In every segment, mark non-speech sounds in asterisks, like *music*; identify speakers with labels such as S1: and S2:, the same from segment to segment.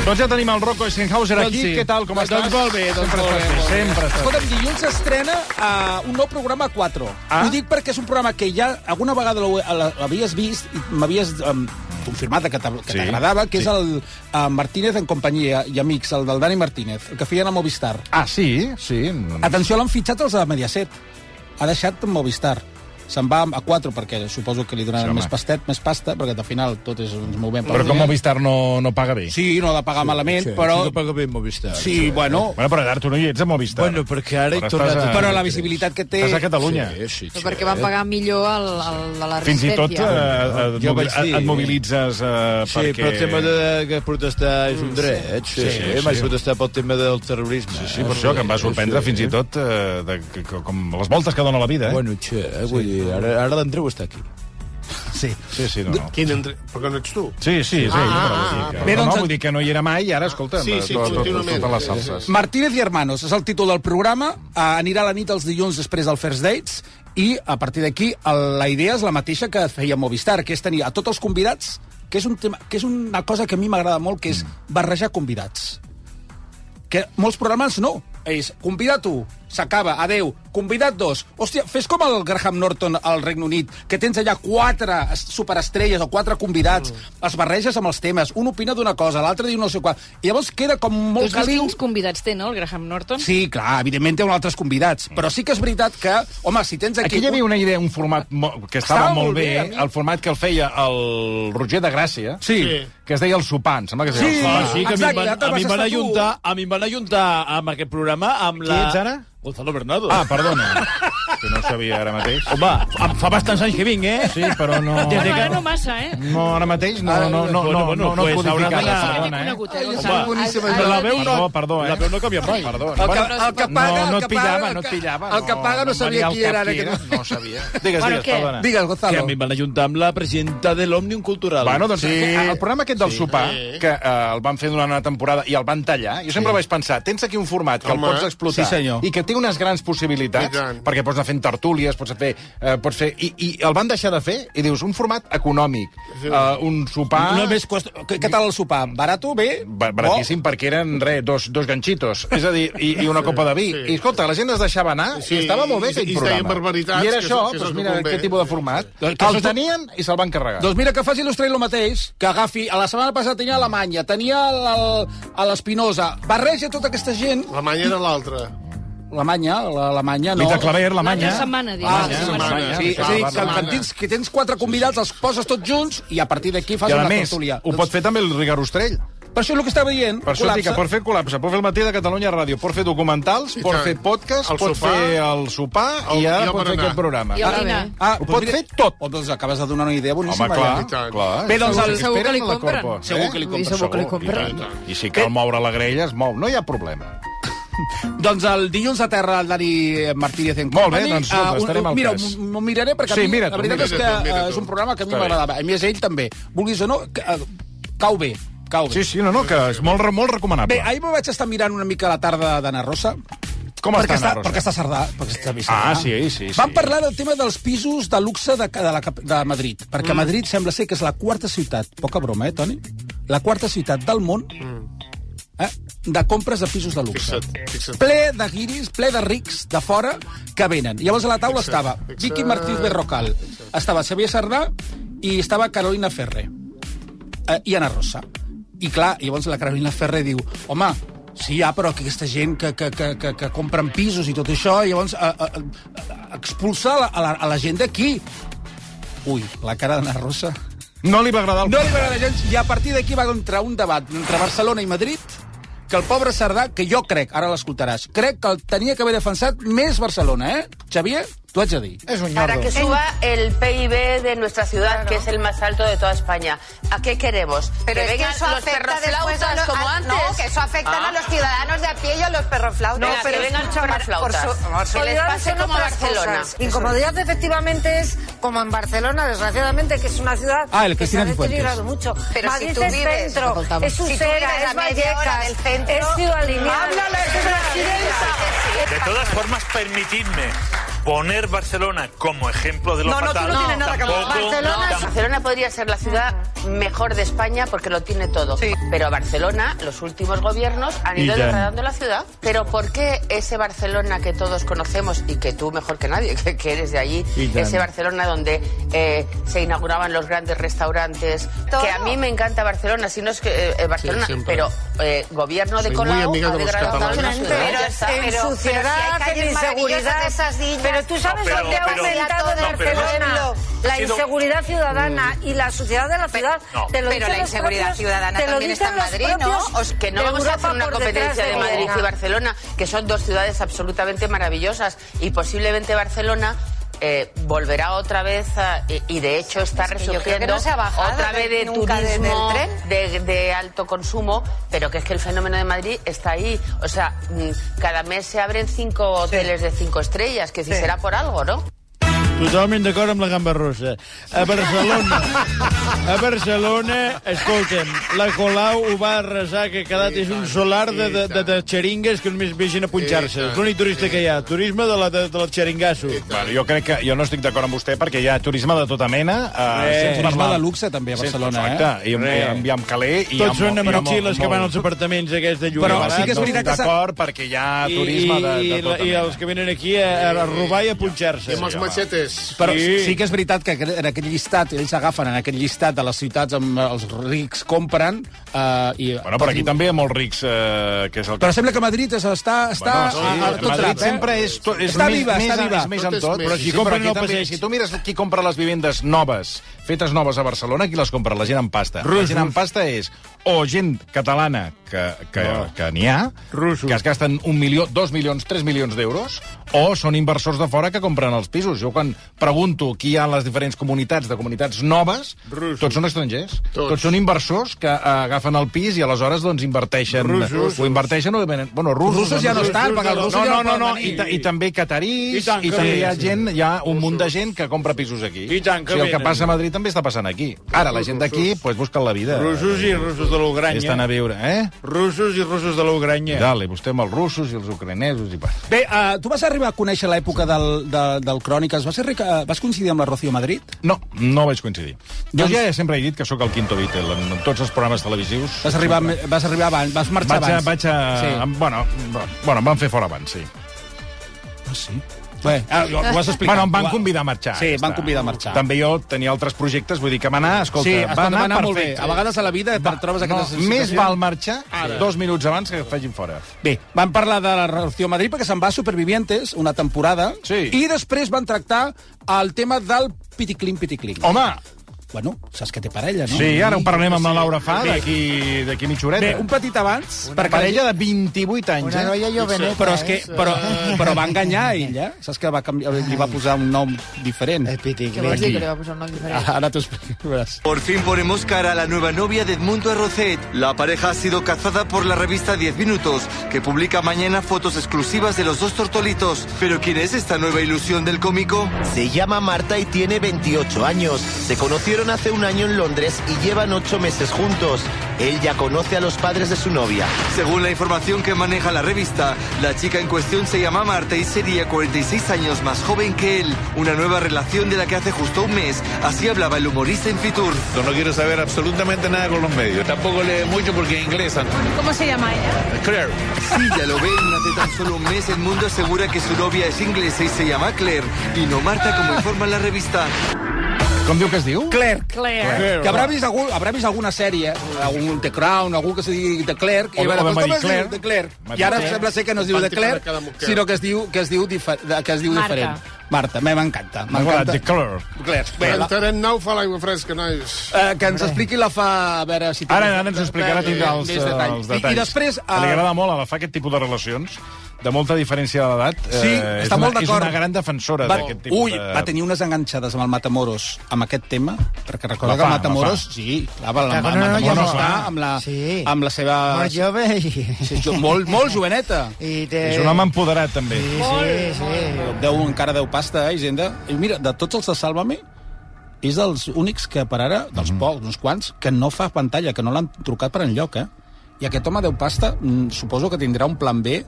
S1: Doncs ja tenim el Rocco Eisenhauser
S2: Doncs
S1: aquí.
S2: sí.
S1: Què tal, com
S2: Doncs
S1: estàs?
S2: molt bé, doncs
S1: sempre
S2: molt
S1: estàs
S2: bé, molt bé.
S1: sempre estàs
S3: Escolta'm, dilluns s'estrena uh, un nou programa 4.
S1: Ah.
S3: Ah? Ho dic perquè és un programa que ja alguna vegada l'ho- l'ha- l'havies vist i m'havies um, confirmat que t'ag- que
S1: Sí,
S3: t'agradava, que
S1: sí.
S3: és el uh, Martínez en companyia i amics, el del Dani Martínez, el que feien a Movistar.
S1: Ah, sí? Sí.
S3: Atenció, l'han fitxat els de Mediaset. Ha deixat Movistar. Se'n va a 4 perquè suposo que li
S1: Sí,
S3: donaran
S1: home.
S3: més pastet, més pasta, perquè al final tot és, ens movem pel
S1: Però com
S3: diner.
S1: Movistar no, no paga bé.
S3: Sí, no ha de pagar sí, malament,
S2: sí,
S3: sí, però...
S2: Sí que paga bé Movistar.
S3: Sí, bueno,
S1: Bueno, però ara tu no hi ets a Movistar.
S2: Bueno, perquè ara he
S1: Però
S2: tornat...
S1: estàs a-
S3: però la visibilitat que té...
S1: Estàs a Catalunya.
S2: Sí, sí, sí.
S4: Però perquè
S5: eh?
S4: van pagar millor el, el de la
S1: Fins i
S4: resistència.
S1: tot eh, et,
S2: Jo
S1: mobi-
S2: vaig dir-
S1: et mobilitzes eh,
S2: Sí,
S1: perquè...
S2: perquè... però el tema de que protestar és un dret. Sí, sí, sí, sí,
S1: sí.
S2: vaig protestar pel tema del terrorisme. eh? Sí,
S1: Sí, per això que em va sorprendre fins i tot eh, de, que, que, com les voltes que dona la vida, eh?
S2: Bueno, xe, eh? vull dir, ara, ara l'Andreu està aquí.
S3: Sí.
S1: Sí, sí, no, no.
S6: Quin Andreu? Perquè no ets tu.
S1: Sí, sí, sí. Ah, però vull dir que,
S3: Bé,
S1: no,
S3: doncs-
S1: no, vull dir que no hi era mai i ara, escolta,
S6: Sí, sí,
S1: to- to-
S6: contínuament.
S1: totes les salses.
S3: Martínez i Hermanos és el títol del programa. Uh, anirà a la nit els dilluns després del First Dates i a partir d'aquí el- la idea és la mateixa que feia Movistar, que és tenir a tots els convidats, que és, un tema, que és una cosa que a mi m'agrada molt, que és barrejar convidats. Que molts programes no. És convidat 1, s'acaba, adeu. Convidat 2, hòstia, fes com el Graham Norton al Regne Unit, que tens allà quatre es- superestrelles o quatre convidats, els barreges amb els temes, un opina d'una cosa, l'altre diu no sé qual. I llavors queda com molt
S5: Doncs
S4: Dos
S3: caliu.
S4: distints convidats té, no, el Graham Norton?
S3: Sí, clar, evidentment té un altres convidats,
S1: Mm.
S3: però sí que és veritat que, home, si tens aquí...
S1: Aquí hi havia una idea, un format mo- que estava,
S3: Estava
S1: molt
S3: molt bé,
S1: bé,
S3: a mi.
S1: el format que el feia el Roger de Gràcia,
S3: Sí.
S6: Sí.
S1: que es deia el sopar, em sembla que es deia
S3: Sí,
S1: el sopar.
S3: sí, que a mi em van- Ah, Exacte, a mi em vas van estar tu. ajuntar-
S2: a mi em van ajuntar amb aquest programa amb
S1: la- ets ara?
S2: Gonzalo Bernardo.
S1: Ah, perdona, *laughs* que no ho sabia ara mateix.
S2: Home, em fa bastants anys que vinc, eh?
S1: Sí, però no...
S2: Des de
S4: Bueno,
S2: que-
S4: ara no massa, eh?
S1: No, ara mateix no, no, no, no,
S2: Bueno,
S1: no,
S2: bueno,
S1: no, no
S2: pues haurà
S1: codificada,
S2: d'anar-
S4: Sí que t'he
S1: perdona, eh?
S4: conegut, eh,
S3: Ai,
S4: Gonzalo?
S3: és boníssima,
S4: Has-
S2: Però la
S4: has de
S2: veu
S4: dir-
S2: no...
S1: Perdó, perdó, eh?
S2: La veu no canvia mai.
S1: Perdó.
S6: El que,
S1: Bueno,
S6: el que paga,
S1: no, no
S6: el
S1: et
S6: que
S1: pillava,
S6: paga,
S1: no et
S6: el que-
S1: pillava.
S6: El que paga no
S1: venia
S6: sabia qui
S1: al
S6: era.
S1: cap
S6: Ara,
S1: qui
S6: que
S1: era,
S6: no.
S1: No ho sabia. Digues,
S4: Bueno,
S1: digues,
S4: què?
S1: perdona.
S3: Digues,
S2: Que a
S3: Gonzalo.
S2: mi em van ajuntar amb la presidenta de l'Òmnium Cultural.
S1: Bueno, doncs
S6: Sí.
S1: el programa aquest del sopar, que eh, el van fer durant una temporada i el van tallar, jo sempre vaig pensar, tens aquí un format que
S6: Home.
S1: el pots explotar
S3: Sí, senyor.
S1: i que té unes grans
S6: I
S1: possibilitats,
S6: tant.
S1: perquè pots anar fent tertúlies, pots fer... Eh, pots fer i, I el van deixar de fer, i dius, un format econòmic, eh, un sopar...
S3: No més costa... Ah. Què què tal el sopar? Barato, bé?
S1: Ba- baratíssim, perquè eren, re, dos, dos ganxitos. És a dir, i, i una copa de vi.
S6: sí.
S1: I, escolta, la gent es deixava anar
S6: Sí,
S1: i estava molt bé
S6: i-
S1: aquell
S6: i es
S1: programa.
S6: deien barbaritats,
S1: I era
S6: que és-
S1: això,
S6: que
S1: doncs
S6: és el que
S1: mira,
S6: convé.
S1: aquest tipus de format.
S3: Sí, sí.
S1: El tenien i se'l van carregar.
S3: Doncs mira, que faci l'Austrell el mateix, que agafi... A la setmana passada tenia Alemanya, tenia el- el- a l'Espinosa, barreja tota aquesta gent...
S6: La manya era l'altra.
S3: Alemanya, l'Alemanya, no...
S1: Lluita Claver, la
S4: L'altra
S1: manya.
S4: setmana, diu.
S3: Ah,
S4: L'altra
S3: sí,
S4: setmana.
S6: setmana.
S3: sí, és a dir, que,
S6: Setmana.
S3: quan tens, que tens quatre convidats els poses tots junts i a partir d'aquí fas
S1: I a
S3: una
S1: més,
S3: tertúlia. Doncs
S1: ho pot fer també el Ricard Ostrell.
S3: Per això és el que estava dient.
S1: Per això et dic que
S3: col·lapse.
S1: pot fer col·lapse, pot fer el matí de Catalunya Ràdio, pot fer documentals,
S6: I
S1: pot
S6: tant.
S1: fer podcast,
S6: El
S1: pot
S6: sopar,
S1: fer el sopar i
S6: el- i
S1: ara
S6: el
S1: pot fer
S6: berenar.
S1: aquest programa.
S4: I el dinar.
S3: Ah,
S1: Ho
S3: doncs
S1: pot
S3: mira-
S1: fer tot.
S3: Oh, doncs acabes de donar una idea boníssima.
S1: Home, clar,
S6: i tant.
S1: clar.
S3: Bé, doncs el-
S1: Espera't
S4: segur que li
S1: a la
S4: compren.
S1: Corpo,
S3: Segur que li
S4: Vull dir, Segur
S3: compren,
S4: que li
S1: Segur, i
S4: compren.
S1: tant. I si cal moure la grella, es mou. No hi ha problema.
S3: Doncs el dilluns a terra el Dani Martínez en
S1: Molt bé,
S3: Company.
S1: doncs, escolta,
S3: Ah, un-
S1: estarem al
S3: mira,
S1: cas.
S3: m- m'ho miraré perquè
S1: Sí,
S3: a mi,
S1: mira tu,
S3: la veritat
S1: mira
S3: és
S6: tu,
S3: que
S6: mira
S3: eh,
S6: tu.
S3: és un programa que a mi
S1: Està bé.
S3: m'agradava. A més, ell també. Vulguis o no, que, eh, cau bé. Cau bé.
S1: Sí, sí, no, no, que és molt, re- molt recomanable.
S3: Bé, ahir me vaig estar mirant una mica la tarda d'Anna Rosa.
S1: Com
S3: perquè
S1: està, Ana
S3: està,
S1: Rosa?
S3: perquè està Cerdà, perquè està vist
S1: Ah,
S3: Cerdà.
S1: sí, sí, sí.
S3: Van parlar del tema dels pisos de luxe de, ca- de, la, cap- de Madrid, perquè mm. Madrid sembla ser que és la quarta ciutat, poca broma, eh, Toni? La quarta ciutat del món eh, de compres de pisos de luxe.
S6: Fixa't, fixa't.
S3: ple de guiris, ple de rics de fora que venen. Llavors a la taula
S6: Fixa't,
S3: estava
S6: fixa't.
S3: Vicky Martínez Berrocal, estava Xavier Sardà i estava Carolina Ferrer eh, i Anna Rosa. I clar, llavors la Carolina Ferrer diu, home, sí, ja, però que aquesta gent que, que, que, que, que compren pisos i tot això, llavors a, a, a, expulsa a la, a la, a la gent d'aquí. Ui, la cara d'Anna Rosa...
S1: No li va agradar el...
S3: No li va agradar gens, i a partir d'aquí va entrar un debat entre Barcelona i Madrid que el pobre Cerdà, que jo crec, ara l'escoltaràs, crec que el tenia que haver defensat més Barcelona, eh? Xavier, t'ho haig de dir.
S1: És un
S7: Para
S1: nyordo.
S7: que suba el PIB de nuestra ciudad, que es el más alto de toda España. ¿A qué queremos?
S8: Pero
S7: que
S8: es que
S7: vengan
S8: eso
S7: los
S8: afecta después a
S7: perroflautas
S8: los,
S7: como
S8: a-
S7: antes.
S8: No, que eso afecta
S7: Ah.
S8: a los ciudadanos de a pie y a los perroflautas.
S7: No, pero que vengan chamarflautas.
S8: Por su- por
S7: Que les
S8: solidaridad
S7: pase
S8: son
S7: como a
S8: otras
S7: Barcelona.
S8: cosas. Incomodidad efectivamente es como en Barcelona, desgraciadamente, que es una ciudad
S3: Ah, el
S8: que se
S3: Cristina
S8: ha
S3: Cifuentes.
S8: deteriorado mucho.
S7: Pero
S8: Madrid
S7: si tú
S8: es
S7: vives-
S8: centro,
S7: Escoltamos.
S8: es
S7: Si tú
S8: Usera,
S7: vives
S8: es
S7: a media hora
S8: Vallecas,
S7: del centro,
S8: es Ciudad Lineal.
S7: háblale,
S8: es una
S7: presidenta.
S8: avenida.
S9: De todas formas, permitidme Poner Barcelona como ejemplo de lo
S10: No, no, tú
S9: fatal.
S10: no tienes nada que hablar.
S9: tampoco-
S8: Barcelona
S9: tam-
S7: Barcelona podría ser la ciudad mejor de España porque lo tiene todo.
S10: Sí.
S7: Pero Barcelona, los últimos gobiernos han
S2: Y
S7: ido
S2: ya.
S7: degradando la ciudad. Pero ¿por qué ese Barcelona que todos conocemos y que tú mejor que nadie, *laughs* que, que eres de allí,
S2: Y ya.
S7: ese Barcelona donde eh, se inauguraban los grandes restaurantes,
S10: Todo.
S7: que a mí me encanta Barcelona, si no es que eh, eh, Barcelona,
S6: Sí, siempre.
S7: pero eh, gobierno de
S6: Soy muy
S7: Colau
S6: amiga
S7: ha
S6: de los
S7: degradado la
S6: catalanes. ¿eh?
S7: ciudad.
S8: Pero
S7: ya
S8: en
S7: está.
S8: su
S10: pero si hay
S8: ciudad,
S10: calles
S8: en inseguridad.
S10: maravillosas de esas villas.
S8: pero tú sabes
S9: No, pero-
S8: dónde ha
S9: pero-
S8: aumentado de
S9: no, pero-
S8: Barcelona.
S10: Pueblo.
S8: La
S9: Ha sido- Mm.
S8: inseguridad ciudadana y la suciedad de la ciudad.
S9: no.
S8: te
S10: Pero
S8: lo dicen
S10: la
S8: los
S10: inseguridad
S8: propios-
S10: ciudadana
S8: te lo
S10: también
S8: dicen
S10: está en
S8: los
S10: Madrid, ¿no?
S8: propios
S7: Os- que no
S8: de
S7: vamos a hacer
S8: Europa
S7: una
S8: por detrás
S7: competencia de Madrid y
S8: Barcelona.
S7: Barcelona, que son dos ciudades absolutamente maravillosas y posiblemente Barcelona eh, volverá otra vez a- y, y de hecho está
S10: que yo creo que
S7: resurgiendo
S10: no se ha bajado
S7: otra vez de
S10: nunca desde el
S7: turismo
S10: tren.
S7: de, de alto consumo, pero que es que el fenómeno de Madrid está ahí. O sea, mm, cada mes se abren cinco hoteles de cinco estrellas, que si
S10: Sí.
S7: será por algo, ¿no?
S2: Totalment d'acord amb la gamba rossa. A Barcelona, a Barcelona, escolta'm, la Colau ho va arrasar, que ha quedat, és un solar de, de, de, de xeringues que només vegin a punxar-se. És l'únic turista que hi ha, turisme de la, de, de la xeringasso.
S1: Bueno, jo crec que jo no estic d'acord amb vostè perquè hi ha turisme de tota mena. Eh,
S2: Eh,
S1: sents
S3: Turisme
S1: parlar-
S3: de luxe, també, a
S1: Sents-
S3: Barcelona, eh?
S1: exacte, I amb,
S2: Re.
S1: i amb, i amb caler... I
S2: Tots són
S1: amb,
S2: amb motxilles que van als apartaments aquests de lloguer
S3: Però
S2: barat.
S3: sí que és
S1: no
S3: veritat
S1: estic
S3: que s'ha-
S1: d'acord perquè hi ha
S2: I,
S1: turisme de,
S2: i,
S1: de tota
S2: i
S1: mena.
S2: els que venen aquí a, a robar i a punxar-se.
S6: Amb els machetes.
S3: Però sí.
S2: Sí.
S3: sí que és veritat que en aquest llistat, ells agafen en aquest llistat de les ciutats amb eh, els rics compren... Eh, i,
S1: Bueno, però aquí també hi ha molts rics, eh, que és el que...
S3: Però sembla que Madrid és, està, està
S1: sí,
S3: a, a, tot
S1: Madrid
S3: drap, eh?
S1: sempre és, to, és
S3: Està
S1: més,
S3: viva,
S1: més,
S3: està viva.
S1: És més
S6: Tot
S1: en
S6: és
S1: tot,
S6: més.
S1: però
S6: Sí,
S1: si,
S2: però
S1: compren
S2: aquí
S1: el
S2: també-
S1: passeig, si tu mires qui compra les vivendes noves, fetes noves a Barcelona, qui les compra? La gent amb pasta.
S2: Russos.
S1: La gent amb pasta és o gent catalana que, que, no. que n'hi ha,
S2: Russos.
S1: que es gasten un milió, dos milions, tres milions d'euros, o són inversors de fora que compren els pisos. Jo quan pregunto qui hi ha en les diferents comunitats de comunitats noves,
S2: Russos.
S1: tots són estrangers.
S6: Tots.
S1: tots són inversors que eh, agafen el pis i aleshores doncs inverteixen.
S2: Russos.
S1: Ho inverteixen o venen... Bueno, russos,
S3: Russos ja no estan, perquè els russos
S1: no,
S3: ja
S1: no, no,
S3: poden
S1: no,
S3: venir.
S1: i, ta- i també
S2: I
S1: catarís, i,
S2: tant que
S1: i també hi ha
S2: venen.
S1: gent, hi ha un munt de gent que compra pisos aquí.
S2: I tant que
S1: o sigui, el que
S2: venen.
S1: passa a Madrid també està passant aquí. Ara, la gent d'aquí pues, busca la vida.
S2: Russos i russos de
S1: És tant
S2: l'Ugranya.
S1: a viure, eh?
S2: Russos i russos de l'Ugranya.
S1: Dale, vostè amb els russos i els ucranesos i... pa-
S3: Bé, uh, tu vas arribar a conèixer l'època del, de, del Cròniques. Vas, ser, ric- eh, vas coincidir amb la Rocío Madrid?
S1: No, no vaig coincidir. Jo
S3: Doncs-
S1: ja sempre he dit que sóc el quinto Beatle en, en tots els programes televisius.
S3: Vas arribar, amb- vas arribar abans, vas marxar
S1: Vaig a,
S3: abans.
S1: vaig a... Sí.
S3: Sí.
S1: Bueno, bueno, em van fer fora abans, sí.
S3: Ah, sí? Bé, ah, ho ho has explicat.
S1: Bueno, em van
S3: Ho ha-
S1: convidar a marxar.
S3: Sí,
S1: ja
S3: em van
S1: està.
S3: convidar a marxar.
S1: També jo tenia altres projectes, vull dir que va anar, escolta,
S3: sí, es
S1: eh, va
S3: pot
S1: anar,
S3: anar molt bé.
S1: perfecte.
S3: A vegades a la vida et trobes aquestes
S1: no, més val marxar Ara. dos minuts abans que et facin fora.
S3: Bé, van parlar de la Rocío Madrid perquè se'n va a Supervivientes una temporada
S1: Sí.
S3: i després van tractar el tema del piticlin, piticlin.
S1: Home,
S3: Bueno, saps que té parella, no?
S1: Oh. sí, ara ho parlem amb la Laura Fa d'aquí d'aquí mitja horeta.
S3: Bé, un petit abans,
S1: per
S3: perquè...
S1: parella de 28 anys, eh?
S10: Una noia joveneta,
S3: Però, és que,
S10: eh?
S3: però, però va enganyar ella. Saps que va canviar, li va posar un nom diferent.
S4: Què vols dir que li va posar un nom diferent?
S3: Ara t'ho explicaràs.
S11: Por fin ponemos cara a la nueva novia de Edmundo Arrocet. La pareja ha sido cazada por la revista 10 Minutos, que publica mañana fotos exclusivas de los dos tortolitos. Pero ¿quién es esta nueva ilusión del cómico?
S12: Se llama Marta y tiene 28 años. Se conocieron hace un año en Londres y llevan 8 meses juntos. Él ya conoce a los padres de su novia.
S11: Según la información que maneja la revista, la chica en cuestión se llama Marta y sería 46 años más joven que él. Una nueva relación de la que hace justo un mes. Así hablaba el humorista en Fitur.
S9: No quiero saber absolutamente nada con los medios. Tampoco lee mucho porque es inglesa.
S4: Com se llama ella?
S9: Claro.
S11: Sí, ya lo ven, hace tan solo un mes el mundo asegura que su novia es inglesa y se llama Claire, y no Marta como informa la revista.
S1: Com diu que es diu?
S3: Clerc.
S4: Claire.
S3: Que haurà vist, algú, haurà vist alguuna sèrie, algun The Crown, algú que se digui The Clerc,
S1: O
S3: i
S1: bé-
S3: veure,
S1: o bé
S3: "Pues, com
S1: Marie
S3: es diu
S1: Claire".
S3: The Clerc.
S1: Marie
S3: I ara
S1: Claire.
S3: sembla ser que no es diu The
S6: Fantàstica de
S3: Clerc,
S6: cada mujer.
S3: sinó que es diu, que es diu, dife- de- que es diu
S4: Marta.
S3: diferent. Marta, me m'encanta.
S1: M'agrada
S3: M'encanta.
S1: The Clerk.
S3: Clerc. Bé, la,
S6: Entrarem nau fa l'aigua fresca, nois.
S3: eh, que ens expliqui la fa... A veure si... té
S1: Ara,
S3: més-
S1: ara ens ho explicarà, tindrà els,
S3: més
S1: eh,
S3: detalls.
S1: els detalls.
S3: I, I després... eh,
S1: Que Li agrada molt a la fa aquest tipus de relacions, de molta diferència d'edat.
S3: Sí,
S1: Eh,
S3: està
S1: és
S3: molt
S1: una-
S3: d'acord.
S1: És una gran defensora
S3: va,
S1: d'aquest tipus
S3: ui,
S1: de...
S3: va tenir unes enganxades amb el Matamoros amb aquest tema, perquè recorda
S1: La
S3: que el
S1: fa, la
S3: Matamoros...
S1: fa.
S3: Sí, clar, va,
S10: Clar,
S3: la, la,
S10: no, no, ja
S3: Matamoros
S10: no
S3: va
S10: fa.
S3: amb la,
S10: Sí.
S3: amb la seva...
S10: Molt jove i...
S3: Sí, jo, molt, molt joveneta.
S10: i té...
S1: És un home empoderat, també.
S10: Sí, sí, sí.
S3: Deu, encara deu pasta, eh, Hisenda? I mira, de tots els de Sálvame, és dels únics que per ara, dels pocs, uns quants, que no fa pantalla, que no l'han trucat per enlloc, eh? I aquest home deu pasta, mm, suposo que tindrà un plan B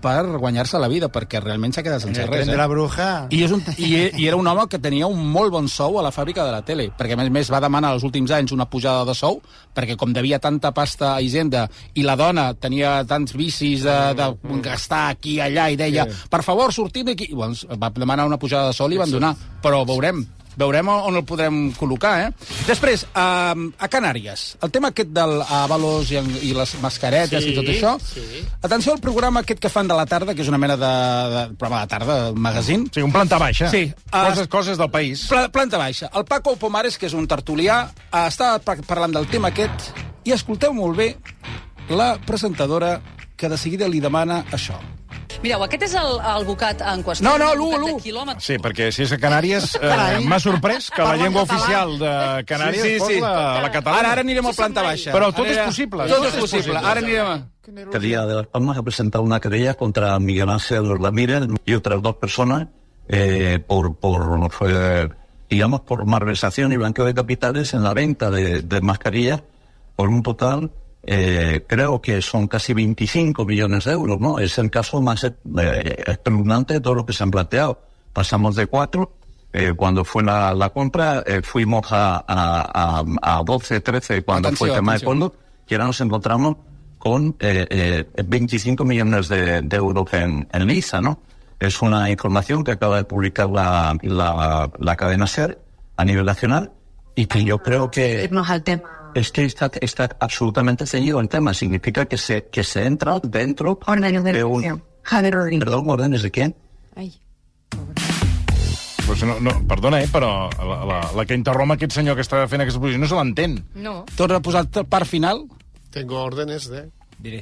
S3: per guanyar-se la vida, perquè realment s'ha quedat sense
S2: El
S3: res. eh?
S2: tren de la bruja.
S3: I, és un, i, e- I era un home que tenia un molt bon sou a la fàbrica de la tele, perquè a més a més va demanar els últims anys una pujada de sou, perquè com devia tanta pasta a Hisenda i la dona tenia tants vicis de, de gastar aquí i allà i deia, per favor, sortim d'aquí. I, Bueno, va demanar una pujada de sou i li van donar, però veurem veurem on el podrem col·locar, eh? Després, a, a Canàries, el tema aquest del Avalos i, i les mascaretes sí, i tot això,
S6: Sí.
S3: Atenció al programa aquest que fan de la tarda, que és una mena de, de programa de tarda, un magazín. Sí, un planta baixa. Sí.
S1: Coses-
S3: coses del país. Pla, planta baixa. El Paco Pomares, que és un tertulià, eh, està par- parlant del tema aquest i escolteu molt bé la presentadora que de seguida li demana això.
S5: Mireu, aquest és el, el bocat en qüestió.
S3: No, no,
S5: Un
S3: l'u,
S5: bocat de
S3: l'u.
S5: quilòmetre.
S1: Sí, perquè si és a Canàries, eh,
S5: Carai.
S1: m'ha sorprès que la
S5: Parlen
S1: llengua
S5: català.
S1: oficial de Canàries
S3: Sí, sí,
S1: fos
S3: sí.
S1: la, la catalana.
S3: Ara- ara anirem a planta baixa.
S1: Però tot
S3: Ara-
S1: és possible.
S3: Tot és possible. Ara anirem a...
S13: Alcaldía de Las Palmas ha presentado una querella contra Miguel Ángel Ramírez y otras dos personas eh, por, por eh, digamos, por malversación y blanqueo de capitales en la venta de, de mascarillas por un total, eh, creo que son casi 25 millones de euros, ¿no? Es el caso más eh, espeluznante de todo lo que se han planteado. Pasamos de cuatro, eh, cuando fue la, la compra, eh, fuimos a, a, a, a 12, 13 cuando fue el
S3: Atención,
S13: tema de
S3: atención.
S13: fondo, y ahora nos encontramos con eh, eh, 25 millones de, de euros en, en Lisa, ¿no? Es una información que acaba de publicar la, la, la cadena SER a nivel nacional y que yo creo que
S14: irnos al tema.
S13: es que está, está absolutamente ceñido el tema. Significa que se, que se entra dentro de un...
S14: Javier Rodríguez.
S13: Perdón, órdenes de quién?
S1: Pues no, no, perdona, eh, però la, la, la que interromp aquest senyor que està fent aquesta posició no se l'entén.
S4: No.
S3: Tot reposat per final.
S6: Tengo órdenes de...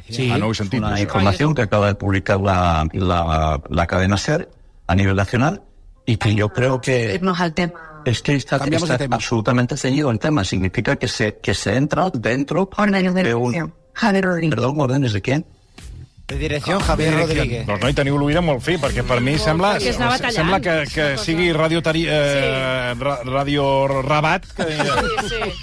S1: Sí. Ah, no ho he sentit,
S13: Una
S1: això.
S13: información que acaba de publicar la, la, la cadena SER a nivel nacional y que yo creo que...
S14: Irnos al tema.
S13: Es que está,
S14: Cambiamos de
S13: está
S14: tema.
S13: absolutamente ceñido el tema. Significa que se, que se entra dentro de un...
S14: Javier Rodríguez.
S13: Perdón, órdenes de quién?
S1: De direcció
S13: Javier Rodríguez.
S1: Doncs noi, teniu l'oïda molt fi, perquè per mi sembla,
S15: perquè es anava tallant.
S1: sembla que, que sigui Radio, tari, eh, ra, radio Rabat que,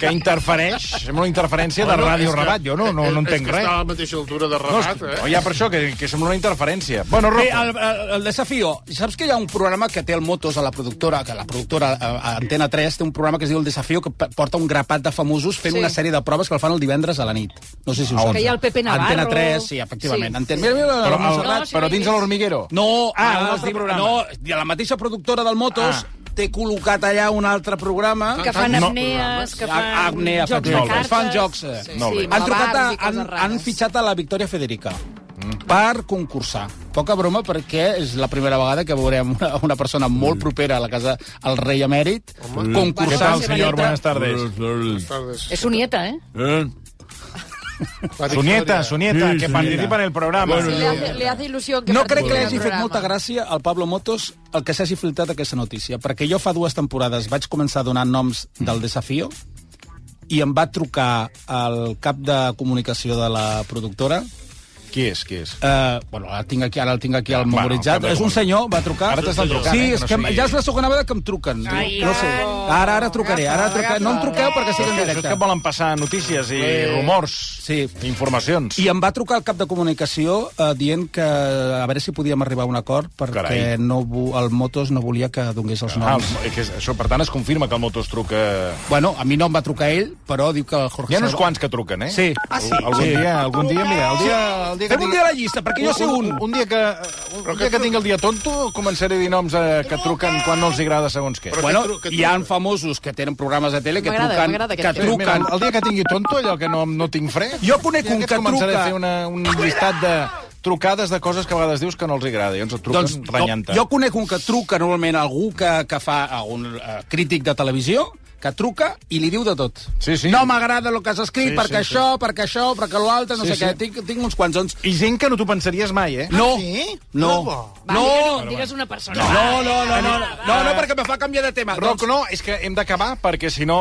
S1: que interfereix, sembla una interferència de
S6: Bueno, és
S1: Radio
S6: que-
S1: Rabat. Jo no, no, no
S6: és
S1: entenc
S6: que
S1: res.
S6: està a la mateixa altura
S1: No,
S6: de Rabat,
S1: és-
S6: eh?
S1: no, ja per això, que, que sembla una interferència. Bueno, Rocco.
S3: Bé, el, Eh, el, el desafío. Saps que hi ha un programa que té el Motos a la productora, que la productora a, a Antena 3 té un programa que es diu El desafío, que p- porta un grapat de famosos fent
S16: Sí.
S3: sí. una sèrie de proves que el fan el divendres a la nit. No sé si ho
S16: Que
S3: saps.
S16: hi ha el Pepe Navarro.
S3: Antena 3, sí, efectivament.
S16: Sí.
S3: Sí. Antena... Mira,
S1: Ah,
S3: mira,
S1: Però
S3: però,
S1: el-
S3: Montserrat,
S1: no, sí, però dins de
S3: l'Hormiguero. No,
S1: Ah, un
S3: ah,
S1: altre programa.
S3: no, de la mateixa productora del Motos ah. té col·locat allà un altre programa.
S1: Que fan No. apnees, que fan
S3: A- apnea,
S1: jocs de
S3: efectivament.
S1: cartes.
S3: Fan jocs. eh.
S1: Sí, sí, Molt bé.
S3: Han, trucat a,
S1: malabars i coses
S3: han, han fitxat a la Victòria Federica
S1: Mm.
S3: per concursar. Poca broma, perquè és la primera vegada que veurem una, una persona molt propera a la casa al rei emèrit
S1: Què
S3: concursar.
S1: tal, senyor? Buenas tardes.
S5: És su nieta, eh?
S1: Su nieta, su nieta, que participa en el programa.
S4: Sí, le, hace, le hace ilusión que
S3: No crec que
S4: participe en el
S3: li hagi fet
S4: programa.
S3: molta gràcia al Pablo Motos el que s'hagi filtrat aquesta notícia, perquè jo fa dues temporades vaig començar a donar noms del desafío i em va trucar el cap de comunicació de la productora.
S1: Qui és, qui és?
S3: Uh, bueno, ara tinc aquí, ara el tinc aquí al
S1: Ah, Bueno,
S3: memoritzat.
S1: cap de
S3: és un
S1: comunicació.
S3: senyor, va trucar.
S1: Ara t'estan trucant,
S3: Sí,
S1: eh, que
S3: és
S1: no
S3: que
S1: sigui-
S3: ja és la segona vegada que em truquen. no sé. Ara, ara trucaré, ara trucaré. No em truqueu perquè estic en
S1: Això és
S3: directe.
S1: que volen passar notícies i
S3: Eh,
S1: rumors,
S3: sí.
S1: informacions.
S3: I em va trucar el cap de comunicació eh, dient que a veure si podíem arribar a un acord perquè
S1: Carai.
S3: no vo- el Motos no volia que donés els
S1: Ah,
S3: noms.
S1: que és- això, per tant, es confirma que el Motos truca...
S3: Bueno, a mi no em va trucar ell, però diu que el Jorge...
S1: Hi ha uns
S3: Salgado-
S1: quants que truquen, eh?
S3: Sí.
S1: Ah, sí? Algun
S3: Sí.
S1: dia, algun dia, mira, el dia... El dia
S3: Fem un
S1: tingui-
S3: dia la llista, perquè jo sé un.
S1: Un, un dia que, un dia que tingui el dia tonto, començaré a dir noms eh, que truquen quan no els agrada segons què.
S3: Bueno, hi ha famosos que tenen programes de tele que
S1: M'agrada,
S3: truquen...
S1: m'agrada
S3: Que
S1: aquest tema.
S3: truquen.
S1: Mira, el dia que tingui tonto, allò que no, no tinc fre...
S3: Jo conec
S1: i
S3: un
S1: aquests
S3: que
S1: començaré
S3: truca-
S1: a fer una, un llistat de trucades de coses que a vegades dius que no els agrada, i ens et truquen doncs, renyant
S3: jo conec un que truca normalment a algú que, que fa a un eh, crític de televisió, que truca i li diu de tot. Sí, sí. No m'agrada el que has
S1: Sí,
S3: escrit, sí, perquè
S1: sí,
S3: sí, això, sí. perquè això, perquè l'altre, no
S1: Sí,
S3: sí, sé
S1: sí.
S3: sí. què. Tinc, tinc uns quants ons.
S1: I gent que no t'ho pensaries mai, eh?
S3: No,
S1: Ah, sí?
S3: no,
S1: Bravo.
S5: Va,
S3: no.
S5: digues- Digues una persona.
S3: No, no, no, no, no, no, no, perquè me fa canviar de tema. Doncs,
S1: Roc, no, és que hem d'acabar perquè si no,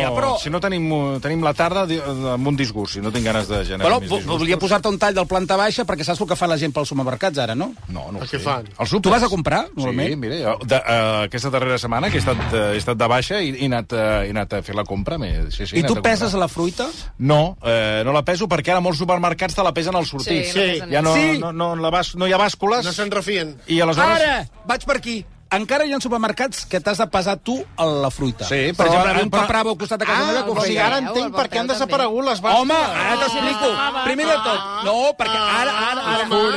S3: Ja, ja, però-
S1: si no tenim, eh, tenim la tarda di- eh, amb un disgust, si no tinc ganes de generar
S3: Però
S1: més
S3: vo-
S1: disgust.
S3: volia posar-te un tall del planta baixa perquè saps el que fa la gent pels supermercats ara, no?
S1: No, no ho
S3: Què
S1: sé.
S3: fan?
S1: Els
S3: Tu vas a comprar,
S1: Sí,
S3: normalment?
S1: eh, mira, jo, eh, de, uh, aquesta darrera setmana que he estat, uh, he estat de baixa i he anat uh, eh, he anat a fer la compra. m'he- Sí, sí, he
S3: I
S1: anat
S3: tu
S1: a comprar.
S3: peses la fruita?
S1: No, eh, no la peso perquè ara molts supermercats te la pesen al sortir.
S3: Sí, la pesen
S1: ja no,
S3: al- Sí.
S1: no, no, no, la bas, no hi ha bàscules.
S3: No se'n
S1: refien. I aleshores...
S3: Ara, vaig per aquí. Encara hi ha supermercats que t'has de pesar tu a la fruita.
S1: Sí, però
S3: per exemple,
S1: ara-
S3: un paprava al costat de casa
S1: Ah,
S3: meva que ho
S1: o sigui,
S3: feia.
S1: ara entenc per què han desaparegut les bàscules.
S3: Home, ara t'explico.
S6: Ah,
S3: Primer de tot, no, perquè ara... ara, ara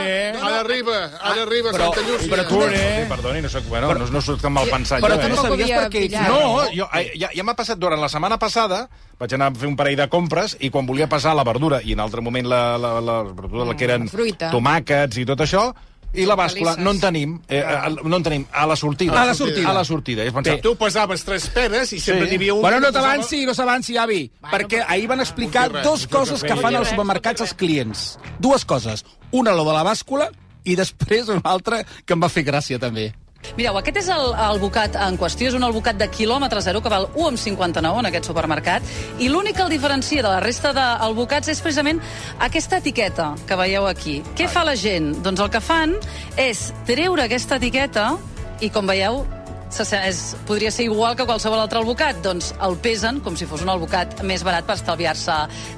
S3: eh?
S6: A la riba, a la riba,
S1: eh. Però-
S6: Santa Llúcia.
S1: però tu, eh? Perdoni, no soc, bueno, però, no, no soc tan mal pensat.
S3: però
S1: jo,
S3: tu no
S1: eh?
S3: sabies Tampoc per què- havia pillat.
S1: No, jo, eh, ja, ja m'ha passat durant la setmana passada, vaig anar a fer un parell de compres i quan volia passar la verdura i en altre moment la, la, la, la verdura, la que eren
S14: la fruita.
S1: tomàquets i tot això, i la bàscula, no en tenim, eh, eh, no en tenim, a la sortida.
S3: A la sortida.
S1: A la sortida. I vaig
S6: Bé,
S1: pensar,
S6: tu pesaves tres peres i sempre n'hi havia un...
S3: Bueno,
S6: que
S3: no
S6: pesava-
S3: t'avanci, no s'avanci, avi, perquè ahir van explicar
S6: Un res,
S3: dos
S6: un
S3: coses
S6: res,
S3: que
S6: un
S3: fan
S6: res.
S3: als supermercats als clients. Dues coses. Una, lo de la bàscula, i després una altra que em va fer gràcia, també.
S5: Mireu, aquest és el, el bocat en qüestió. És un albocat de quilòmetre zero que val 1,59 en aquest supermercat. I l'únic que el diferencia de la resta d'albocats és precisament aquesta etiqueta que veieu aquí. Què fa la gent? Doncs el que fan és treure aquesta etiqueta i, com veieu, se- se- és, podria ser igual que qualsevol altre albocat. Doncs el pesen com si fos un albocat més barat per estalviar-se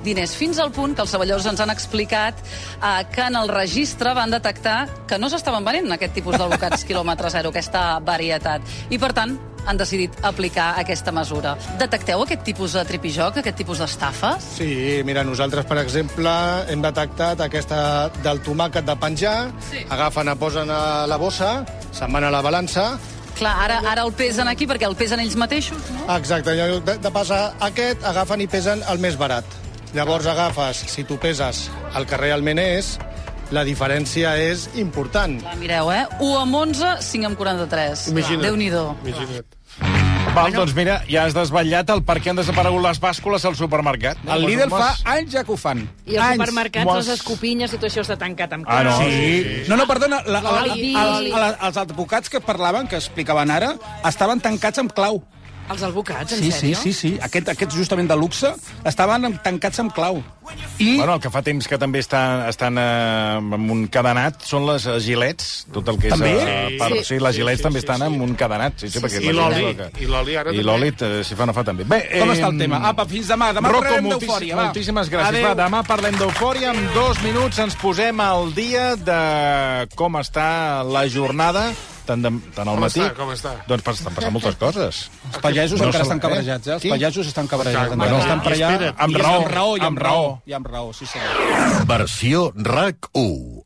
S5: diners. Fins al punt que els saballadors ens han explicat eh, que en el registre van detectar que no s'estaven venent aquest tipus d'albocats quilòmetre zero, aquesta varietat. I, per tant, han decidit aplicar aquesta mesura. Detecteu aquest tipus de tripijoc, aquest tipus d'estafes?
S15: Sí, mira, nosaltres, per exemple, hem detectat aquesta del tomàquet de penjar, sí. agafen, la posen a la bossa, se'n van a la balança,
S5: Clar, ara, ara el pesen aquí perquè el pesen ells mateixos, no?
S15: exacte, i en lloc de, de passar aquest, agafen i pesen el més barat. Llavors agafes, si tu peses el que realment és, la diferència és important.
S5: Ah, Mireu, eh? 1 amb 11, 5 amb 43.
S1: Imagina't.
S5: Déu-n'hi-do.
S1: Val, doncs mira, ja has desvetllat el per què han desaparegut les bàscules al supermercat.
S15: doncs
S3: El
S1: Líder
S3: Lidl fa anys ja que ho fan.
S14: I els
S3: Anys.
S14: supermercats,
S1: Mos-
S14: les escopinyes i tot això està tancat amb
S3: Ah, no.
S14: clau.
S3: Sí. No, no, perdona, la, la,
S14: L'oli.
S3: la, la, la, els advocats que parlaven, que explicaven ara, estaven tancats amb clau.
S14: Els alvocats, en
S3: Sí, sí,
S14: sèrio?
S3: sí, sí. Aquest, aquests justament de luxe estaven amb- tancats amb clau. I...
S1: Bueno, el que fa temps que també estan, estan eh, amb un cadenat són les eh, gilets, tot el que és...
S6: També?
S1: eh, per, sí,
S6: Sí.
S1: les gilets també estan amb un cadenat. Sí, sí, perquè la
S6: I
S1: gilet
S6: l'oli,
S1: és el que-
S6: i l'oli
S1: I
S6: ara també.
S1: l'oli, eh, si fa no fa també. Bé,
S3: Com està el tema? Apa, fins demà. Demà
S1: Rocco,
S3: parlarem
S1: moltíssim-
S3: d'Eufòria, va.
S1: Moltíssimes gràcies.
S3: Adéu.
S1: Va, demà parlem d'Eufòria. En dos minuts ens posem al dia de com està la jornada, tant, de, tant al
S6: Com
S1: matí...
S6: està, com està?
S1: Doncs pas- estan passant moltes coses.
S3: Els pagesos
S1: No
S3: encara
S1: se-
S3: estan cabrejats, eh? Els
S1: Qui?
S3: pagesos estan cabrejats.
S1: Bueno,
S3: Encara estan per allà...
S1: espera,
S3: I
S1: amb raó,
S3: Amb raó, i
S1: amb
S3: amb
S1: raó.
S3: raó. I amb raó, sí, senyor.
S16: Versió RAC 1.